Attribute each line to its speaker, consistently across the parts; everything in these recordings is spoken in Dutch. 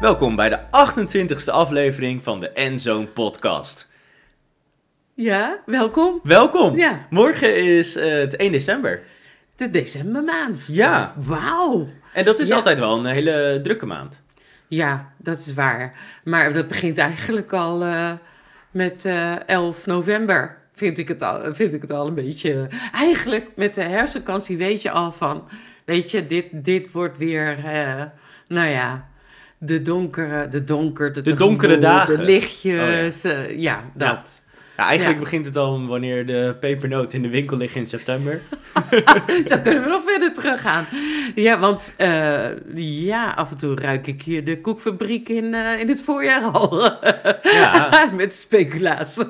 Speaker 1: Welkom bij de 28e aflevering van de Endzone podcast.
Speaker 2: Ja, welkom.
Speaker 1: Welkom!
Speaker 2: Ja.
Speaker 1: Morgen is eh, het 1 december.
Speaker 2: De decembermaand.
Speaker 1: Ja.
Speaker 2: Wauw.
Speaker 1: En dat is
Speaker 2: Ja.
Speaker 1: altijd wel een hele drukke maand.
Speaker 2: Ja, dat is waar. Maar dat begint eigenlijk al eh, met eh 11 november. Vind ik, het al, vind ik het al een beetje. Eigenlijk met de herfstvakantie weet je al van. Weet je, dit, dit wordt weer. eh, nou ja, de donkere, de donker, de,
Speaker 1: De donkere
Speaker 2: tegemoet,
Speaker 1: dagen. Oh
Speaker 2: De lichtjes. eh, ja. dat.
Speaker 1: Ja, eigenlijk
Speaker 2: Ja.
Speaker 1: begint het al wanneer de pepernoten in de winkel liggen in september.
Speaker 2: Zo kunnen we nog verder teruggaan. Ja, want eh, ja, af en toe ruik ik hier de koekfabriek in, eh, in het voorjaar al.
Speaker 1: Ja,
Speaker 2: Met speculaas.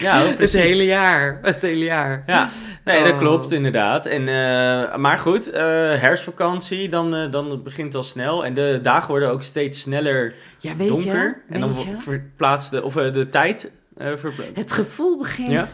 Speaker 1: ja
Speaker 2: Het
Speaker 1: precies.
Speaker 2: hele jaar. Het hele jaar.
Speaker 1: Ja, nee, dat
Speaker 2: Oh.
Speaker 1: klopt inderdaad. En, eh, maar goed, eh herfstvakantie, dan, eh, dan begint het al snel. En de dagen worden ook steeds sneller
Speaker 2: Ja, weet
Speaker 1: donker.
Speaker 2: je?
Speaker 1: en dan
Speaker 2: weet je?
Speaker 1: verplaatst de, of, eh, de tijd. eh, verpla-
Speaker 2: Het gevoel begint
Speaker 1: Ja.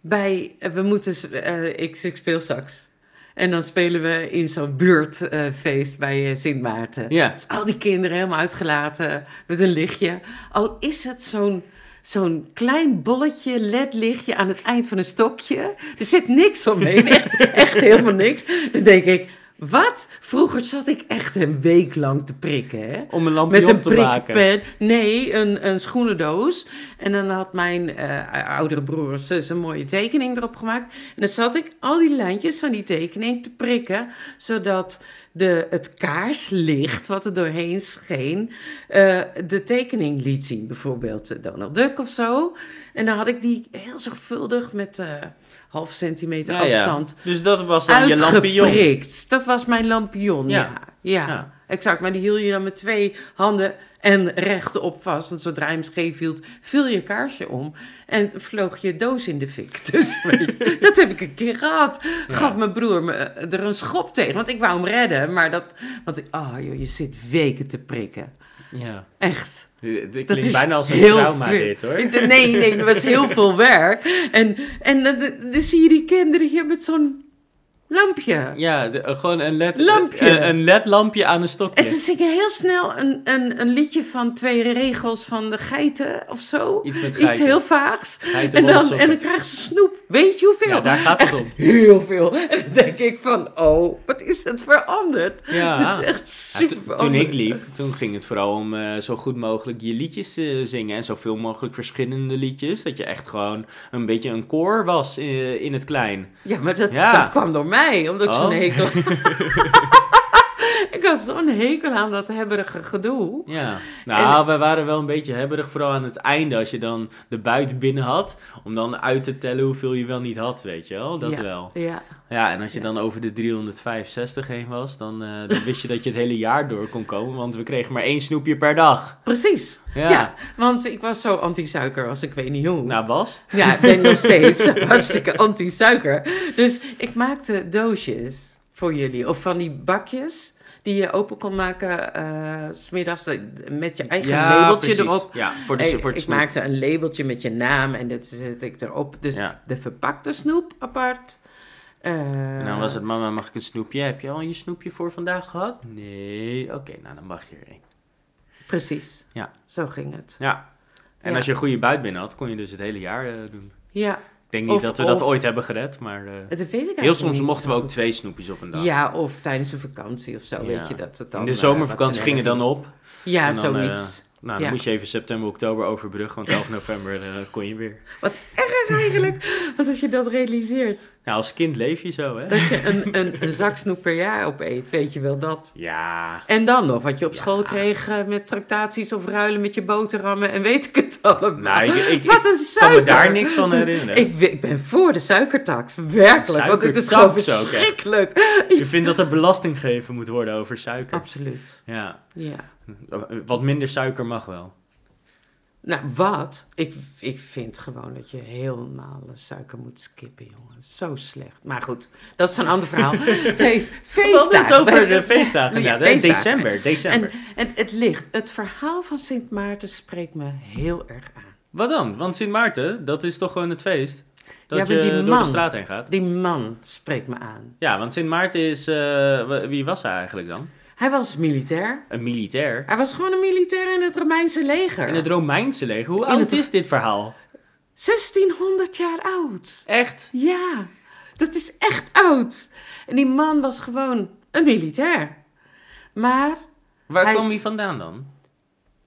Speaker 2: bij... eh, We moeten... s- eh, ik, ik speel sax. En dan spelen we in zo'n buurtfeest bij eh, Sint Maarten.
Speaker 1: ja.
Speaker 2: Dus al die kinderen helemaal uitgelaten met een lichtje. Al is het zo'n zo'n klein bolletje ledlichtje aan het eind van een stokje. Er zit niks omheen, echt, echt helemaal niks. Dan denk ik, wat? Vroeger zat ik echt een week lang te prikken, hè?
Speaker 1: Om een lampje
Speaker 2: Met een
Speaker 1: te maken.
Speaker 2: prikpen. Nee, een, een schoenendoos. En dan had mijn eh, oudere broer of zus een mooie tekening erop gemaakt. En dan zat ik al die lijntjes van die tekening te prikken. Zodat de, het kaarslicht wat er doorheen scheen, eh, de tekening liet zien. Bijvoorbeeld eh, Donald Duck of zo. En dan had ik die heel zorgvuldig met eh, half centimeter
Speaker 1: Ja, ja.
Speaker 2: afstand
Speaker 1: Dus dat was dan je lampion.
Speaker 2: Uitgeprikt. Dat was mijn lampion, ja.
Speaker 1: Ja.
Speaker 2: Ja,
Speaker 1: Ja.
Speaker 2: exact. Maar die hield je dan met twee handen en rechtop vast. Want zodra je hem scheef hield, viel je kaarsje om. En vloog je doos in de fik. Dus weet je, dat heb ik een keer gehad. Gaf mijn broer me eh, er een schop tegen. Want ik wou hem redden. Maar dat... Want ik... Oh joh, je zit weken te prikken.
Speaker 1: Ja.
Speaker 2: Echt.
Speaker 1: Dit dit
Speaker 2: Dat
Speaker 1: klinkt
Speaker 2: is
Speaker 1: bijna als een
Speaker 2: heel
Speaker 1: trauma
Speaker 2: ver-
Speaker 1: dit hoor.
Speaker 2: Nee, nee, dat was heel veel werk. En, en dan- dan- dan zie je die kinderen hier met zo'n lampje.
Speaker 1: Ja, de- eh, gewoon een led,
Speaker 2: Lampje.
Speaker 1: Een, een ledlampje aan een stokje.
Speaker 2: En ze zingen heel snel een, een, een liedje van twee regels van de geiten of zo.
Speaker 1: Iets met
Speaker 2: Iets
Speaker 1: geiten.
Speaker 2: heel vaags.
Speaker 1: Geiten
Speaker 2: En dan,
Speaker 1: rollen
Speaker 2: en dan
Speaker 1: sokken.
Speaker 2: krijgen ze snoep. Weet je hoeveel?
Speaker 1: Ja, daar gaat het
Speaker 2: Echt
Speaker 1: om.
Speaker 2: Heel veel. En dan denk ik van, oh, wat is het veranderd?
Speaker 1: Ja.
Speaker 2: Dit is echt
Speaker 1: Ja,
Speaker 2: super
Speaker 1: to- toen
Speaker 2: veranderd.
Speaker 1: ik liep, toen ging het vooral om eh, zo goed mogelijk je liedjes eh, zingen. En zoveel mogelijk verschillende liedjes. Dat je echt gewoon een beetje een koor was eh, in het klein.
Speaker 2: Ja, maar dat,
Speaker 1: Ja.
Speaker 2: dat kwam door mij, omdat ik
Speaker 1: Oh.
Speaker 2: zo'n hekel... ik had zo'n hekel aan dat hebberige gedoe.
Speaker 1: Ja. Nou, wij waren wel een beetje hebberig. Vooral aan het einde, als je dan de buit binnen had. Om dan uit te tellen hoeveel je wel niet had, weet je wel. Dat
Speaker 2: Ja,
Speaker 1: wel.
Speaker 2: Ja.
Speaker 1: Ja, en als je
Speaker 2: Ja.
Speaker 1: dan over de 365 heen was, dan, eh, dan wist je dat je het hele jaar door kon komen. Want we kregen maar één snoepje per dag.
Speaker 2: Precies.
Speaker 1: Ja.
Speaker 2: Ja. want ik was zo anti-suiker als ik weet niet hoe.
Speaker 1: Nou, Bas?
Speaker 2: Ja, ik ben nog steeds hartstikke anti-suiker. Dus ik maakte doosjes voor jullie. Of van die bakjes die je open kon maken eh, s smiddags met je eigen labeltje
Speaker 1: precies.
Speaker 2: erop.
Speaker 1: Ja, voor de,
Speaker 2: Hey,
Speaker 1: voor het
Speaker 2: ik
Speaker 1: snoep.
Speaker 2: maakte een labeltje met je naam en dat zet ik erop. Dus
Speaker 1: Ja.
Speaker 2: de verpakte snoep apart. Eh,
Speaker 1: En dan was het, mama, mag ik een snoepje? Heb je al je snoepje voor vandaag gehad? Nee. Oké, nou dan mag je er één.
Speaker 2: Precies.
Speaker 1: Ja.
Speaker 2: Zo ging het.
Speaker 1: Ja. En
Speaker 2: Ja.
Speaker 1: als je een goede buit binnen had, kon je dus het hele jaar eh, doen.
Speaker 2: Ja,
Speaker 1: Ik denk niet
Speaker 2: Of-
Speaker 1: dat we dat
Speaker 2: of-
Speaker 1: ooit hebben gered, maar eh,
Speaker 2: dat weet ik eigenlijk
Speaker 1: heel soms
Speaker 2: niet
Speaker 1: mochten we
Speaker 2: zo
Speaker 1: ook twee snoepjes op een dag.
Speaker 2: goed. Ja, of tijdens een vakantie of zo,
Speaker 1: Ja.
Speaker 2: weet je dat het dan...
Speaker 1: In de
Speaker 2: eh,
Speaker 1: zomervakantie
Speaker 2: wat
Speaker 1: gingen
Speaker 2: sneller
Speaker 1: dan op.
Speaker 2: ging. Ja,
Speaker 1: en dan, eh,
Speaker 2: zoiets.
Speaker 1: Nou, dan
Speaker 2: Ja.
Speaker 1: moest je even september, oktober overbruggen, want 11 november eh, kon je weer.
Speaker 2: Wat erg eigenlijk. Want als je dat realiseert,
Speaker 1: Nou, als kind leef je zo, hè?
Speaker 2: dat je een, een, een zak snoep per jaar opeet, weet je wel dat.
Speaker 1: Ja.
Speaker 2: En dan nog, wat je op
Speaker 1: Ja.
Speaker 2: school kreeg eh, met tractaties of ruilen met je boterhammen en weet ik het allemaal.
Speaker 1: Nou, ik, ik, ik
Speaker 2: wat een
Speaker 1: kan
Speaker 2: suiker.
Speaker 1: me daar niks van herinneren.
Speaker 2: ik, we- ik ben voor de suikertax, werkelijk. want het is gewoon
Speaker 1: Suikertax ook echt.
Speaker 2: verschrikkelijk.
Speaker 1: Je vindt dat er belasting gegeven moet worden over suiker.
Speaker 2: Absoluut,
Speaker 1: Ja.
Speaker 2: ja.
Speaker 1: Wat minder suiker mag wel.
Speaker 2: Nou, wat? Ik, ik vind gewoon dat je helemaal eh, suiker moet skippen, jongen. Zo slecht. Maar goed, dat is een ander verhaal. Feest,
Speaker 1: We hadden
Speaker 2: feestdagen.
Speaker 1: het over de feestdagen.
Speaker 2: Ja,
Speaker 1: Ja,
Speaker 2: feestdagen.
Speaker 1: December. december.
Speaker 2: En, en het licht, het verhaal van Sint Maarten spreekt me heel erg aan.
Speaker 1: Wat dan? Want Sint Maarten, dat is toch gewoon het feest? Dat
Speaker 2: Ja, maar
Speaker 1: je
Speaker 2: die
Speaker 1: door
Speaker 2: man.
Speaker 1: de straat heen gaat.
Speaker 2: Die man spreekt me aan.
Speaker 1: Ja, want Sint Maarten is... eh, wa- wie was hij eigenlijk dan?
Speaker 2: Hij was militair.
Speaker 1: Een militair.
Speaker 2: Hij was gewoon een militair in het Romeinse leger.
Speaker 1: In het Romeinse leger. Hoe
Speaker 2: In
Speaker 1: oud
Speaker 2: het-
Speaker 1: is dit verhaal?
Speaker 2: 1600 jaar oud.
Speaker 1: Echt?
Speaker 2: Ja, dat is echt oud. En die man was gewoon een militair. Maar
Speaker 1: Waar
Speaker 2: Hij-
Speaker 1: kwam hij vandaan dan?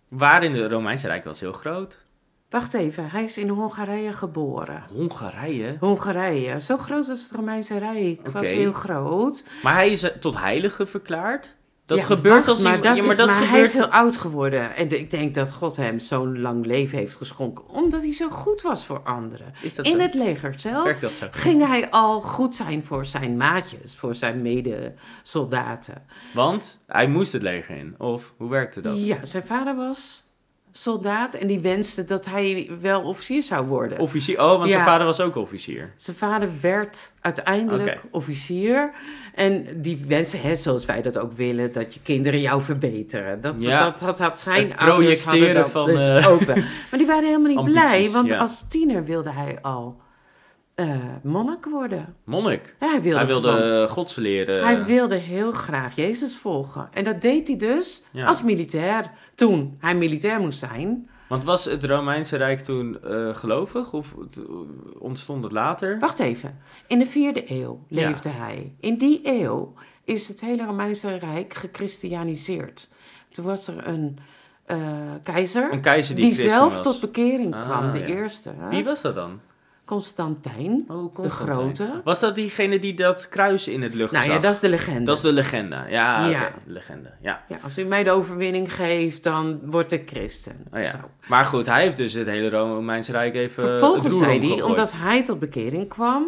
Speaker 1: Waar in het Romeinse Rijk was heel groot.
Speaker 2: wacht even, hij is in Hongarije geboren.
Speaker 1: Hongarije.
Speaker 2: Hongarije, zo groot was het Romeinse Rijk. Het was
Speaker 1: Oké.
Speaker 2: heel groot.
Speaker 1: Maar hij is eh, tot heilige verklaard? Dat
Speaker 2: Ja,
Speaker 1: gebeurt
Speaker 2: wacht,
Speaker 1: als
Speaker 2: maar
Speaker 1: iemand-
Speaker 2: dat
Speaker 1: ja, maar
Speaker 2: is,
Speaker 1: dat
Speaker 2: maar hij
Speaker 1: gebeurt...
Speaker 2: is heel oud geworden. En de- ik denk dat God hem zo'n lang leven heeft geschonken. Omdat hij zo goed was voor anderen.
Speaker 1: Is dat
Speaker 2: In
Speaker 1: zo?
Speaker 2: het leger zelf
Speaker 1: Werkt dat zo?
Speaker 2: ging hij al goed zijn voor zijn maatjes, voor zijn medesoldaten.
Speaker 1: Want hij moest het leger in. Of, hoe werkte dat?
Speaker 2: Ja, zijn vader was soldaat en die wenste dat hij wel officier zou worden.
Speaker 1: Officier. Oh, want zijn
Speaker 2: Ja.
Speaker 1: vader was ook officier.
Speaker 2: Zijn vader werd uiteindelijk
Speaker 1: Oké.
Speaker 2: officier. En die wensen, hè, zoals wij dat ook willen, dat je kinderen jou verbeteren. Dat,
Speaker 1: Ja.
Speaker 2: dat, dat had zijn
Speaker 1: Het
Speaker 2: ouders hadden
Speaker 1: projecteren
Speaker 2: dat
Speaker 1: van,
Speaker 2: dus
Speaker 1: eh,
Speaker 2: ook. wel. Maar die waren helemaal niet
Speaker 1: ambities,
Speaker 2: blij, want
Speaker 1: ja.
Speaker 2: als tiener wilde hij al eh, monnik worden.
Speaker 1: Monnik.
Speaker 2: Ja, hij wilde,
Speaker 1: Hij
Speaker 2: gewoon-
Speaker 1: wilde eh, gods leren.
Speaker 2: hij wilde heel graag Jezus volgen. En dat deed hij dus
Speaker 1: Ja.
Speaker 2: als militair, toen hij militair moest zijn.
Speaker 1: Want was het Romeinse Rijk toen eh, gelovig? Of t- ontstond het later?
Speaker 2: Wacht even. In de vierde eeuw
Speaker 1: Ja.
Speaker 2: leefde hij. In die eeuw is het hele Romeinse Rijk gechristianiseerd. Toen was er een eh, keizer
Speaker 1: Een keizer die,
Speaker 2: die
Speaker 1: christen
Speaker 2: zelf
Speaker 1: was.
Speaker 2: tot bekering
Speaker 1: Ah,
Speaker 2: kwam, de
Speaker 1: ja.
Speaker 2: eerste. hè?
Speaker 1: Wie was dat dan?
Speaker 2: Constantijn.
Speaker 1: Oh,
Speaker 2: De grote.
Speaker 1: Was dat diegene die dat kruis in het lucht
Speaker 2: Nou
Speaker 1: zag?
Speaker 2: ja, dat is de legende.
Speaker 1: Dat is de legende. Ja,
Speaker 2: Ja.
Speaker 1: oké, legende. Ja.
Speaker 2: Ja, als u mij de overwinning geeft, dan word ik christen.
Speaker 1: Oh, ja.
Speaker 2: Zo.
Speaker 1: Maar goed, hij heeft dus het hele Romeinse Rijk even eh, het
Speaker 2: Vervolgens
Speaker 1: roer
Speaker 2: zei hij,
Speaker 1: omgegooid.
Speaker 2: omdat hij tot bekering kwam,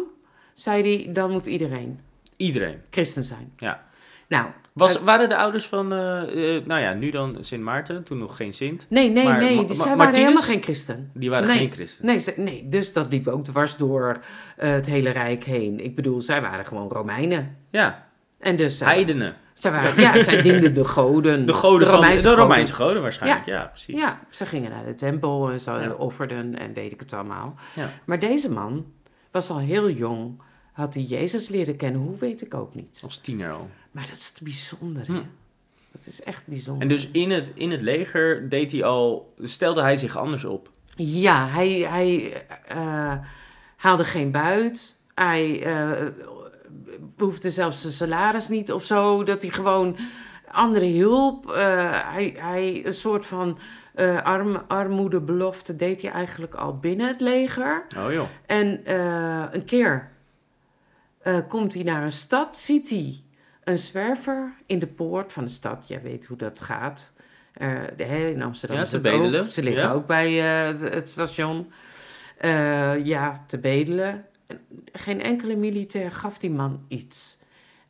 Speaker 2: zei hij, dan moet iedereen
Speaker 1: Iedereen.
Speaker 2: christen zijn.
Speaker 1: Ja.
Speaker 2: Nou,
Speaker 1: Was,
Speaker 2: uit-
Speaker 1: waren de ouders van, eh, eh, nou ja, nu dan Sint Maarten, toen nog geen Sint.
Speaker 2: nee, nee,
Speaker 1: maar-
Speaker 2: nee,
Speaker 1: Ma-
Speaker 2: dus
Speaker 1: Ma-
Speaker 2: zij waren
Speaker 1: Martinus?
Speaker 2: helemaal geen christen.
Speaker 1: Die waren
Speaker 2: Nee.
Speaker 1: geen christen.
Speaker 2: Nee, ze- nee, dus dat liep ook dwars door eh, het hele Rijk heen. Ik bedoel, zij waren gewoon Romeinen.
Speaker 1: Ja,
Speaker 2: En dus zij,
Speaker 1: heidenen.
Speaker 2: zij waren, ja, zij dienden de goden.
Speaker 1: De goden van
Speaker 2: Romeinse
Speaker 1: de
Speaker 2: goden.
Speaker 1: Romeinse goden waarschijnlijk. Ja, precies.
Speaker 2: Ja, ze gingen naar de tempel en ze
Speaker 1: Ja.
Speaker 2: offerden en weet ik het allemaal.
Speaker 1: Ja.
Speaker 2: Maar deze man was al heel jong, had hij Jezus leren kennen, hoe weet ik ook niet.
Speaker 1: Als tiener al.
Speaker 2: Maar dat is bijzonder,
Speaker 1: Oh. Hm.
Speaker 2: hè? Dat is echt bijzonder.
Speaker 1: En dus in het, in het leger deed hij al, stelde hij zich anders op.
Speaker 2: Ja, hij, hij eh, haalde geen buit. Hij eh behoefde zelfs zijn salaris niet of zo. Dat hij gewoon andere hulp. eh, hij, hij, een soort van eh, arm, armoedebelofte deed hij eigenlijk al binnen het leger.
Speaker 1: Oh joh.
Speaker 2: En eh, een keer eh, komt hij naar een stad, ziet hij een zwerver in de poort van de stad. Jij weet hoe dat gaat. Eh, de- hè, in Amsterdam
Speaker 1: Ja,
Speaker 2: is
Speaker 1: te
Speaker 2: dat ook.
Speaker 1: bedelen,
Speaker 2: Ze liggen
Speaker 1: ja.
Speaker 2: ook bij eh, het, het station. Eh, ja, te bedelen. En Geen enkele militair gaf die man iets.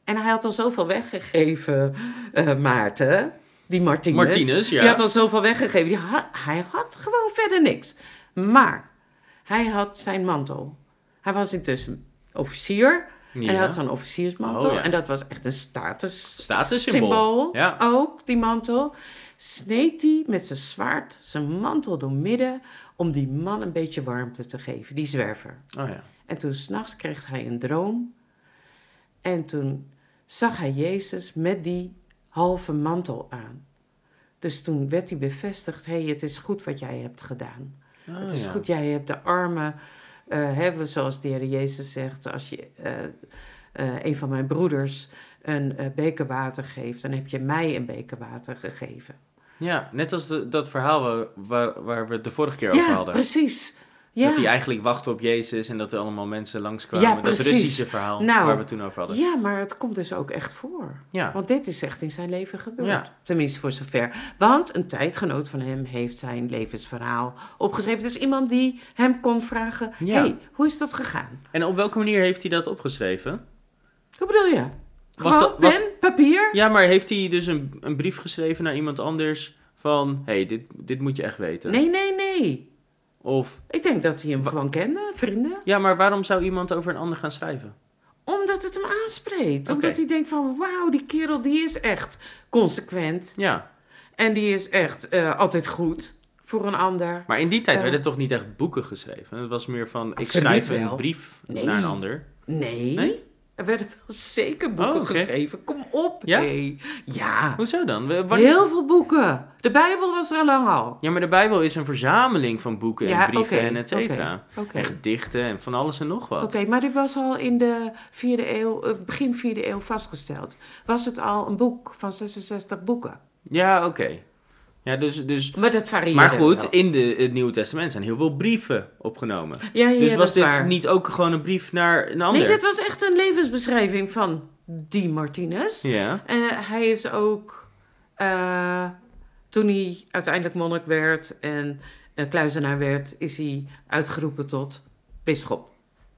Speaker 2: En hij had al zoveel weggegeven, eh, Maarten. Die Martinez.
Speaker 1: Martinez, ja.
Speaker 2: Die had al zoveel weggegeven. Die had, hij had gewoon verder niks. Maar hij had zijn mantel. Hij was intussen officier. En hij
Speaker 1: Ja.
Speaker 2: had zo'n officiersmantel.
Speaker 1: Oh, ja.
Speaker 2: En dat was echt een status
Speaker 1: Statussymbool,
Speaker 2: symbool
Speaker 1: ja.
Speaker 2: Ook, die mantel. Sneed hij met zijn zwaard zijn mantel doormidden... om die man een beetje warmte te geven, die zwerver.
Speaker 1: Oh ja.
Speaker 2: En toen s'nachts kreeg hij een droom. En toen zag hij Jezus met die halve mantel aan. Dus toen werd hij bevestigd: hé, hey, het is goed wat jij hebt gedaan.
Speaker 1: Oh,
Speaker 2: het is
Speaker 1: ja.
Speaker 2: goed, jij hebt de armen. eh hebben, zoals de Heer Jezus zegt, als je eh, eh, een van mijn broeders een eh, beker water geeft, dan heb je mij een beker water gegeven.
Speaker 1: Ja, net als de- dat verhaal waar, waar, waar we het de vorige keer over
Speaker 2: Ja,
Speaker 1: hadden.
Speaker 2: precies. Ja.
Speaker 1: Dat hij eigenlijk wachtte op Jezus en dat er allemaal mensen langskwamen.
Speaker 2: Ja,
Speaker 1: dat
Speaker 2: precies.
Speaker 1: Russische verhaal
Speaker 2: Nou,
Speaker 1: waar we het toen over hadden.
Speaker 2: ja, maar het komt dus ook echt voor.
Speaker 1: Ja.
Speaker 2: Want dit is echt in zijn leven gebeurd.
Speaker 1: Ja.
Speaker 2: Tenminste, voor zover. Want een tijdgenoot van hem heeft zijn levensverhaal opgeschreven. Dus iemand die hem kon vragen:
Speaker 1: Ja.
Speaker 2: hey, hoe is dat gegaan?
Speaker 1: En op welke manier heeft hij dat opgeschreven?
Speaker 2: Hoe bedoel je? Gewoon
Speaker 1: dat- was-
Speaker 2: pen, papier?
Speaker 1: Ja, maar heeft hij dus een, een brief geschreven naar iemand anders van... Hé, hey, dit, dit moet je echt weten.
Speaker 2: Nee, nee, nee.
Speaker 1: Of,
Speaker 2: Ik denk dat hij hem
Speaker 1: Wa-
Speaker 2: gewoon kende, vrienden.
Speaker 1: ja, maar waarom zou iemand over een ander gaan schrijven?
Speaker 2: Omdat het hem aanspreekt.
Speaker 1: Oké.
Speaker 2: Omdat hij denkt van, wauw, die kerel die is echt consequent.
Speaker 1: Ja,
Speaker 2: En die is echt eh, altijd goed voor een ander.
Speaker 1: Maar in die tijd
Speaker 2: Ja.
Speaker 1: werden toch niet echt boeken geschreven? Het was meer van, ik
Speaker 2: Absoluut
Speaker 1: schrijf een
Speaker 2: wel.
Speaker 1: brief
Speaker 2: Nee.
Speaker 1: naar een ander.
Speaker 2: Nee.
Speaker 1: Nee?
Speaker 2: Er werden wel zeker boeken
Speaker 1: Oh, oké.
Speaker 2: geschreven. Kom op.
Speaker 1: Ja?
Speaker 2: hé. ja.
Speaker 1: Hoezo dan? W- wanneer-
Speaker 2: Heel veel boeken. De Bijbel was er al lang al.
Speaker 1: Ja, maar de Bijbel is een verzameling van boeken en
Speaker 2: Ja,
Speaker 1: brieven
Speaker 2: oké,
Speaker 1: en et cetera.
Speaker 2: Oké.
Speaker 1: En gedichten en van alles en nog wat.
Speaker 2: Oké, maar dit was al in de vierde eeuw, eh, begin vierde eeuw vastgesteld. Was het al een boek van 66 boeken?
Speaker 1: Ja, oké. Ja, dus, dus...
Speaker 2: Maar dat varieerde.
Speaker 1: Maar goed,
Speaker 2: wel.
Speaker 1: in de, het Nieuwe Testament zijn heel veel brieven opgenomen.
Speaker 2: Ja, ja,
Speaker 1: Dus
Speaker 2: ja,
Speaker 1: was
Speaker 2: dat
Speaker 1: dit
Speaker 2: is waar.
Speaker 1: niet ook gewoon een brief naar een ander?
Speaker 2: Nee, dit was echt een levensbeschrijving van die Martinez.
Speaker 1: Ja,
Speaker 2: En eh, hij is ook, eh, toen hij uiteindelijk monnik werd en eh, kluizenaar werd, is hij uitgeroepen tot bisschop.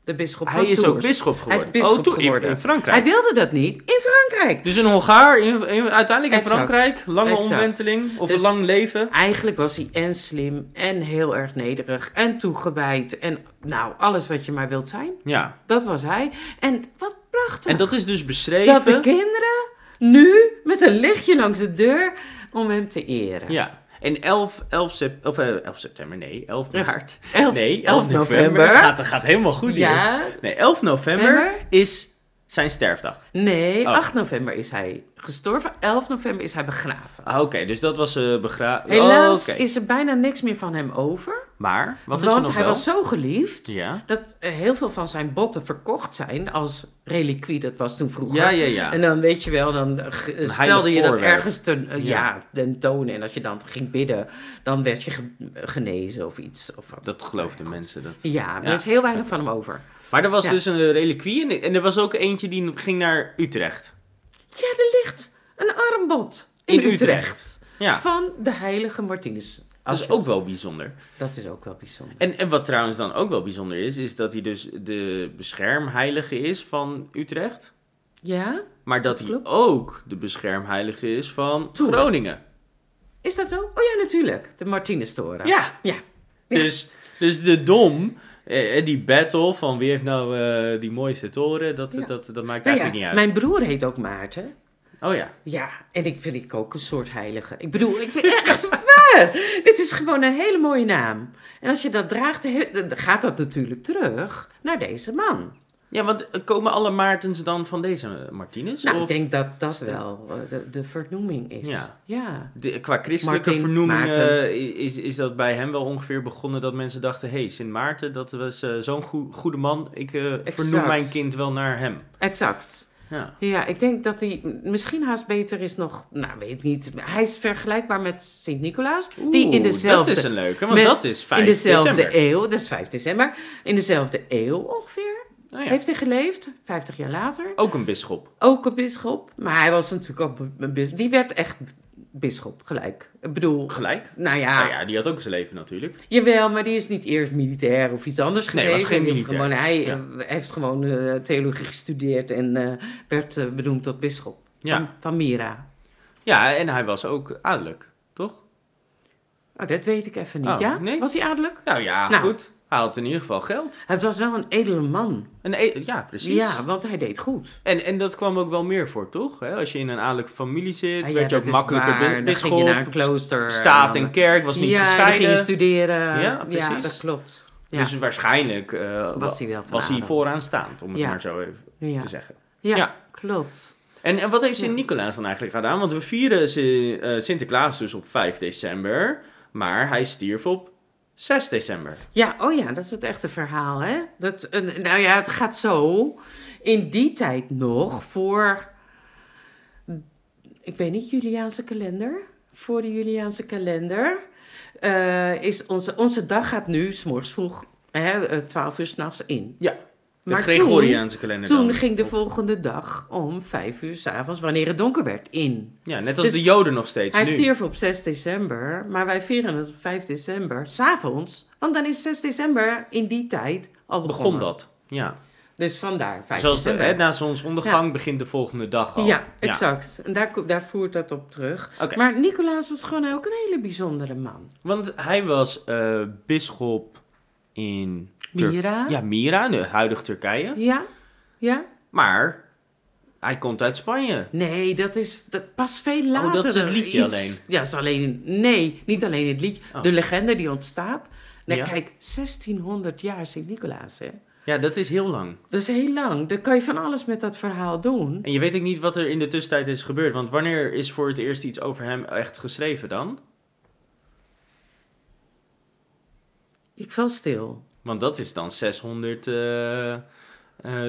Speaker 2: De bisschop van
Speaker 1: hij is ook
Speaker 2: Tours.
Speaker 1: bisschop
Speaker 2: Hij
Speaker 1: geworden.
Speaker 2: is bisschop
Speaker 1: oh, toen in-
Speaker 2: geworden.
Speaker 1: In, Frankrijk.
Speaker 2: Hij wilde dat niet in Frankrijk.
Speaker 1: Dus een Hongaar, in, in- uiteindelijk in
Speaker 2: Exact.
Speaker 1: Frankrijk, lange
Speaker 2: Exact.
Speaker 1: omwenteling of
Speaker 2: Dus-
Speaker 1: een lang leven.
Speaker 2: Eigenlijk was hij en slim en heel erg nederig en toegewijd en nou, alles wat je maar wilt zijn.
Speaker 1: Ja,
Speaker 2: Dat was hij. En wat prachtig.
Speaker 1: en dat is dus beschreven.
Speaker 2: dat de kinderen nu met een lichtje langs de deur om hem te eren.
Speaker 1: Ja, en 11, 11, sep- of, eh, 11 september, nee, 11
Speaker 2: Hart. 11,
Speaker 1: Nee, 11
Speaker 2: 11
Speaker 1: november. Gaat, dat gaat helemaal goed hier.
Speaker 2: ja.
Speaker 1: Nee, 11 november
Speaker 2: November?
Speaker 1: is zijn sterfdag.
Speaker 2: Nee,
Speaker 1: Oh.
Speaker 2: 8 november is hij gestorven. 11 november is hij begraven.
Speaker 1: Ah, Oké, dus dat was eh Oh, begraven.
Speaker 2: Helaas is er bijna niks meer van hem over.
Speaker 1: Maar, wat is er
Speaker 2: want
Speaker 1: nog
Speaker 2: hij
Speaker 1: wel?
Speaker 2: was zo geliefd
Speaker 1: Ja.
Speaker 2: dat eh, heel veel van zijn botten verkocht zijn als reliquie. Dat was toen vroeger.
Speaker 1: ja, ja, ja.
Speaker 2: En dan weet je wel, dan eh, ge- stelde
Speaker 1: heilig
Speaker 2: je dat
Speaker 1: voorwerp.
Speaker 2: ergens ten,
Speaker 1: Ja.
Speaker 2: eh, ja. ten tonen. En als je dan ging bidden, dan werd je ge- genezen of iets. Of wat.
Speaker 1: Dat geloofden mensen. Dat.
Speaker 2: Ja, er
Speaker 1: Ja.
Speaker 2: is heel weinig van hem over.
Speaker 1: Maar er was
Speaker 2: Ja.
Speaker 1: dus een reliquie en, en er was ook eentje die ging naar Utrecht.
Speaker 2: Ja, er ligt een armbod in,
Speaker 1: In Utrecht.
Speaker 2: Utrecht.
Speaker 1: Ja,
Speaker 2: Van de heilige Martinus.
Speaker 1: dat is
Speaker 2: Als-
Speaker 1: ook wel bijzonder.
Speaker 2: dat is ook wel bijzonder.
Speaker 1: En, en wat trouwens dan ook wel bijzonder is, is dat hij dus de beschermheilige is van Utrecht.
Speaker 2: Ja?
Speaker 1: Maar dat hij
Speaker 2: Klopt.
Speaker 1: ook de beschermheilige is van
Speaker 2: Tours.
Speaker 1: Groningen.
Speaker 2: Is dat zo? Oh ja, natuurlijk. De Martinus-toren.
Speaker 1: Ja,
Speaker 2: Ja. Ja.
Speaker 1: Dus, dus de dom, eh, die battle van wie heeft nou eh, die mooiste toren, dat,
Speaker 2: Ja.
Speaker 1: dat, dat maakt
Speaker 2: Nou ja,
Speaker 1: eigenlijk niet uit.
Speaker 2: mijn broer heet ook Maarten.
Speaker 1: Oh ja.
Speaker 2: Ja, en ik vind ik ook een soort heilige. Ik bedoel, ik ben echt waar. Dit is gewoon een hele mooie naam. En als je dat draagt, he- dan gaat dat natuurlijk terug naar deze man. Nou,
Speaker 1: Ja, want eh, komen alle Maartens dan van deze Martinus?
Speaker 2: Nou,
Speaker 1: of
Speaker 2: ik denk dat dat wel eh, de, de vernoeming is.
Speaker 1: Ja.
Speaker 2: ja.
Speaker 1: de- qua christelijke
Speaker 2: Martin,
Speaker 1: vernoemingen
Speaker 2: Maarten.
Speaker 1: eh, is, is dat bij hem wel ongeveer begonnen dat mensen dachten... hé, hey, Sint Maarten, dat was eh, zo'n goe- goede man, ik eh, vernoem
Speaker 2: Exact.
Speaker 1: mijn kind wel naar hem.
Speaker 2: Exact.
Speaker 1: Ja.
Speaker 2: Ja, ik denk dat hij m- misschien haast beter is nog. Nou, weet niet. Hij is vergelijkbaar met Sint Nicolaas. Die
Speaker 1: Oeh,
Speaker 2: in dezelfde.
Speaker 1: Dat is een leuke, want
Speaker 2: met-
Speaker 1: dat is 5
Speaker 2: in dezelfde
Speaker 1: december.
Speaker 2: eeuw, dat is 5 december. In dezelfde eeuw ongeveer
Speaker 1: Oh ja,
Speaker 2: heeft hij geleefd, 50 jaar later.
Speaker 1: Ook een bisschop.
Speaker 2: Ook een bisschop, maar hij was natuurlijk ook een bisschop. Die werd echt bisschop gelijk. Ik bedoel,
Speaker 1: Gelijk.
Speaker 2: nou ja,
Speaker 1: Nou ja, die had ook zijn leven natuurlijk.
Speaker 2: jawel, maar die is niet eerst militair of iets anders
Speaker 1: Nee,
Speaker 2: geweest.
Speaker 1: was geen
Speaker 2: Hij heeft
Speaker 1: militair.
Speaker 2: Gewoon, hij
Speaker 1: Ja.
Speaker 2: eh, heeft gewoon eh, theologie gestudeerd en eh, werd eh, benoemd tot bisschop
Speaker 1: Ja.
Speaker 2: van, van Mira.
Speaker 1: Ja, en hij was ook adellijk, toch?
Speaker 2: Oh, dat weet ik even niet,
Speaker 1: Oh,
Speaker 2: ja?
Speaker 1: nee.
Speaker 2: Was hij adellijk?
Speaker 1: Nou ja,
Speaker 2: Nou.
Speaker 1: goed. Hij had in ieder geval geld.
Speaker 2: Het was wel een edele man.
Speaker 1: Een e- ja, precies.
Speaker 2: Ja, want hij deed goed.
Speaker 1: En, en dat kwam ook wel meer voor, toch? Hè, als je in een adellijke familie zit,
Speaker 2: Ah, ja,
Speaker 1: werd je
Speaker 2: dat
Speaker 1: ook
Speaker 2: is
Speaker 1: makkelijker
Speaker 2: waar.
Speaker 1: bi-
Speaker 2: Dan ging je
Speaker 1: bisschop.
Speaker 2: naar een klooster.
Speaker 1: staat en
Speaker 2: dan-
Speaker 1: kerk was niet
Speaker 2: Ehm, ja, dan ging je
Speaker 1: gescheiden.
Speaker 2: studeren.
Speaker 1: Ja, precies.
Speaker 2: dat klopt. Ja.
Speaker 1: Dus waarschijnlijk eh,
Speaker 2: was hij wel van
Speaker 1: was hij
Speaker 2: adel.
Speaker 1: vooraanstaand, om het
Speaker 2: Ja.
Speaker 1: maar zo even
Speaker 2: ja.
Speaker 1: te zeggen.
Speaker 2: Ja,
Speaker 1: Ja.
Speaker 2: klopt.
Speaker 1: En, en wat heeft
Speaker 2: Ja.
Speaker 1: Sint-Nicolaas dan eigenlijk gedaan? Want we vieren Sin- eh, Sinterklaas dus op 5 december, maar hij stierf op 6 december.
Speaker 2: Ja, oh ja, dat is het echte verhaal, hè? Dat, eh, nou ja, het gaat zo. In die tijd nog, voor... Ik weet niet, Juliaanse kalender? Voor de Juliaanse kalender eh, is onze, onze dag gaat nu, s'morgens vroeg, hè, eh, 12 uur s'nachts in.
Speaker 1: Ja, de
Speaker 2: Maar toen-
Speaker 1: Gregoriaanse kalender
Speaker 2: Toen
Speaker 1: dan.
Speaker 2: ging de
Speaker 1: Of-
Speaker 2: volgende dag om 5 uur s'avonds, wanneer het donker werd, in.
Speaker 1: Ja, net als
Speaker 2: Dus
Speaker 1: de Joden nog steeds
Speaker 2: Hij
Speaker 1: nu.
Speaker 2: stierf op 6 december, maar wij vieren het op 5 december, s'avonds. Want dan is 6 december in die tijd al begonnen.
Speaker 1: Begon dat. Ja.
Speaker 2: Dus vandaar 5
Speaker 1: Zoals de,
Speaker 2: december.
Speaker 1: hè, na zonsondergang begint de volgende dag al.
Speaker 2: ja, exact. En daar, ko- daar voert dat op terug.
Speaker 1: Oké.
Speaker 2: Maar Nicolaas was gewoon ook een hele bijzondere man.
Speaker 1: Want hij was eh bisschop in Tur-
Speaker 2: Mira?
Speaker 1: Ja, Mira, de huidige Turkije.
Speaker 2: Ja? Ja?
Speaker 1: Maar Hij komt uit Spanje.
Speaker 2: Nee, dat is dat pas veel later.
Speaker 1: Oh, dat is het liedje
Speaker 2: Iets-
Speaker 1: alleen?
Speaker 2: Ja, is alleen in- nee, niet alleen in het liedje.
Speaker 1: Oh.
Speaker 2: De legende die ontstaat. Nee,
Speaker 1: Ja.
Speaker 2: kijk, 1600 jaar Sint-Nicolaas, hè.
Speaker 1: Ja, dat is heel lang.
Speaker 2: Dat is heel lang. Dan kan je van alles met dat verhaal doen.
Speaker 1: En je weet ook niet wat er in de tussentijd is gebeurd. Want wanneer is voor het eerst iets over hem echt geschreven dan?
Speaker 2: Ik val stil.
Speaker 1: Want dat is dan 600. eh, eh,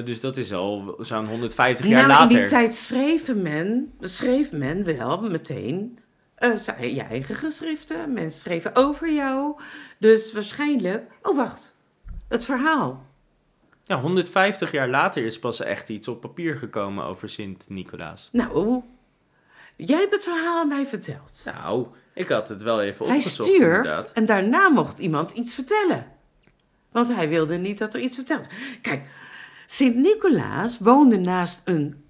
Speaker 1: dus dat is al zo'n 150 jaar
Speaker 2: nou, in
Speaker 1: later.
Speaker 2: die tijd schreef men, schreef men wel meteen eh, zijn, je eigen geschriften. Mensen schreven over jou. Dus waarschijnlijk... Oh, wacht. Het verhaal.
Speaker 1: Ja, 150 jaar later is pas echt iets op papier gekomen over Sint-Nicolaas.
Speaker 2: Nou, jij hebt het verhaal aan mij verteld.
Speaker 1: Nou, ik had het wel even
Speaker 2: Hij
Speaker 1: opgezocht
Speaker 2: stierf
Speaker 1: inderdaad.
Speaker 2: en daarna mocht iemand iets vertellen. Want hij wilde niet dat er iets verteld. Kijk, Sint-Nicolaas woonde naast een